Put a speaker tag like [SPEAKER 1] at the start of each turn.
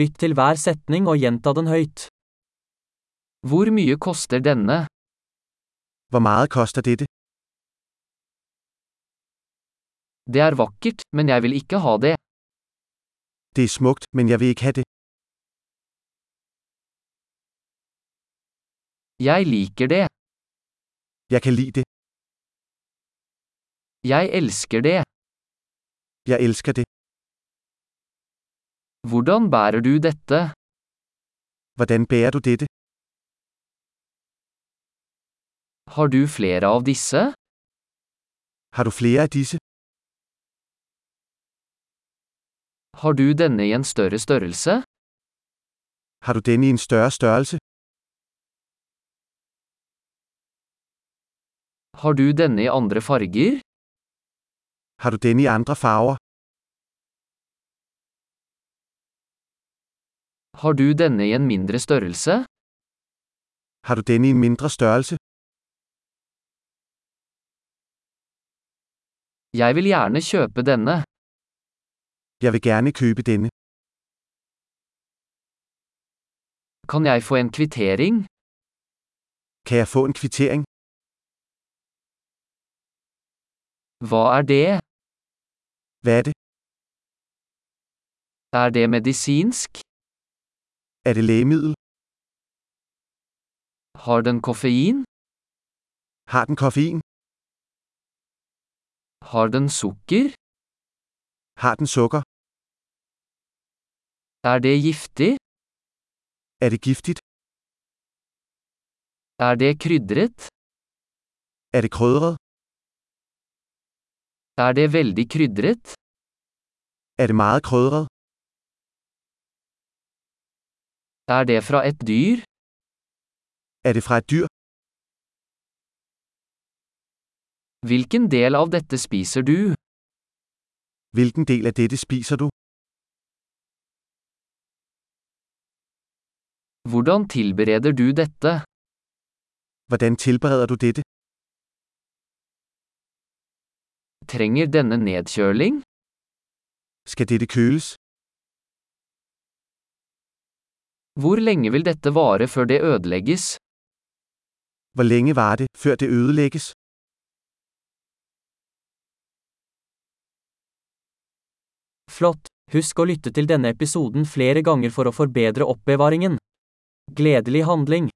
[SPEAKER 1] Lytt til hver setning og gjenta den høyt.
[SPEAKER 2] Hvor mye koster denne?
[SPEAKER 3] Hvor meget koster dette?
[SPEAKER 2] Det er vakkert, men jeg vil ikke ha det.
[SPEAKER 3] Det er smukt, men jeg vil ikke have det.
[SPEAKER 2] Jeg liker det.
[SPEAKER 3] Jeg kan lide det.
[SPEAKER 2] Jeg elsker det.
[SPEAKER 3] Jeg elsker det.
[SPEAKER 2] Hvordan bærer du dette?
[SPEAKER 3] Hvordan bærer du dette?
[SPEAKER 2] Har du flere av disse?
[SPEAKER 3] Har du flere af disse?
[SPEAKER 2] Har du denne i en større størrelse?
[SPEAKER 3] Har du denne i en større størrelse?
[SPEAKER 2] Har du denne i andre farger?
[SPEAKER 3] Har du denne i andre farver?
[SPEAKER 2] Har du denne i en mindre størrelse?
[SPEAKER 3] Har du denne i en mindre størrelse?
[SPEAKER 2] Jeg vil gjerne kjøpe denne.
[SPEAKER 3] Jeg vil gerne købe denne.
[SPEAKER 2] Kan jeg få en kvittering?
[SPEAKER 3] Kan jeg få en kvittering?
[SPEAKER 2] Hva er det?
[SPEAKER 3] Hvad er det?
[SPEAKER 2] Er det medisinsk?
[SPEAKER 3] Er det lægemiddel?
[SPEAKER 2] Har den koffein?
[SPEAKER 3] Har den koffein?
[SPEAKER 2] Har den sukker?
[SPEAKER 3] Har den sukker?
[SPEAKER 2] Er det giftig?
[SPEAKER 3] Er det giftigt?
[SPEAKER 2] Er det krydret?
[SPEAKER 3] Er det krydret?
[SPEAKER 2] Er det veldig krydret?
[SPEAKER 3] Er det meget krydret?
[SPEAKER 2] Er det fra et dyr?
[SPEAKER 3] Er det fra et dyr?
[SPEAKER 2] Hvilken del av dette spiser du?
[SPEAKER 3] Hvilken del af dette spiser du?
[SPEAKER 2] Hvordan tilbereder du dette?
[SPEAKER 3] Hvordan tilbereder du dette?
[SPEAKER 2] Trenger denne nedkjøling?
[SPEAKER 3] Skal dette køles?
[SPEAKER 2] Hvor lenge vil dette vare før det ødelegges?
[SPEAKER 3] Hvor længe var det, før det ødelægges?
[SPEAKER 1] Flott! Husk å lytte til denne episoden flere ganger for å forbedre oppbevaringen. Gledelig handling!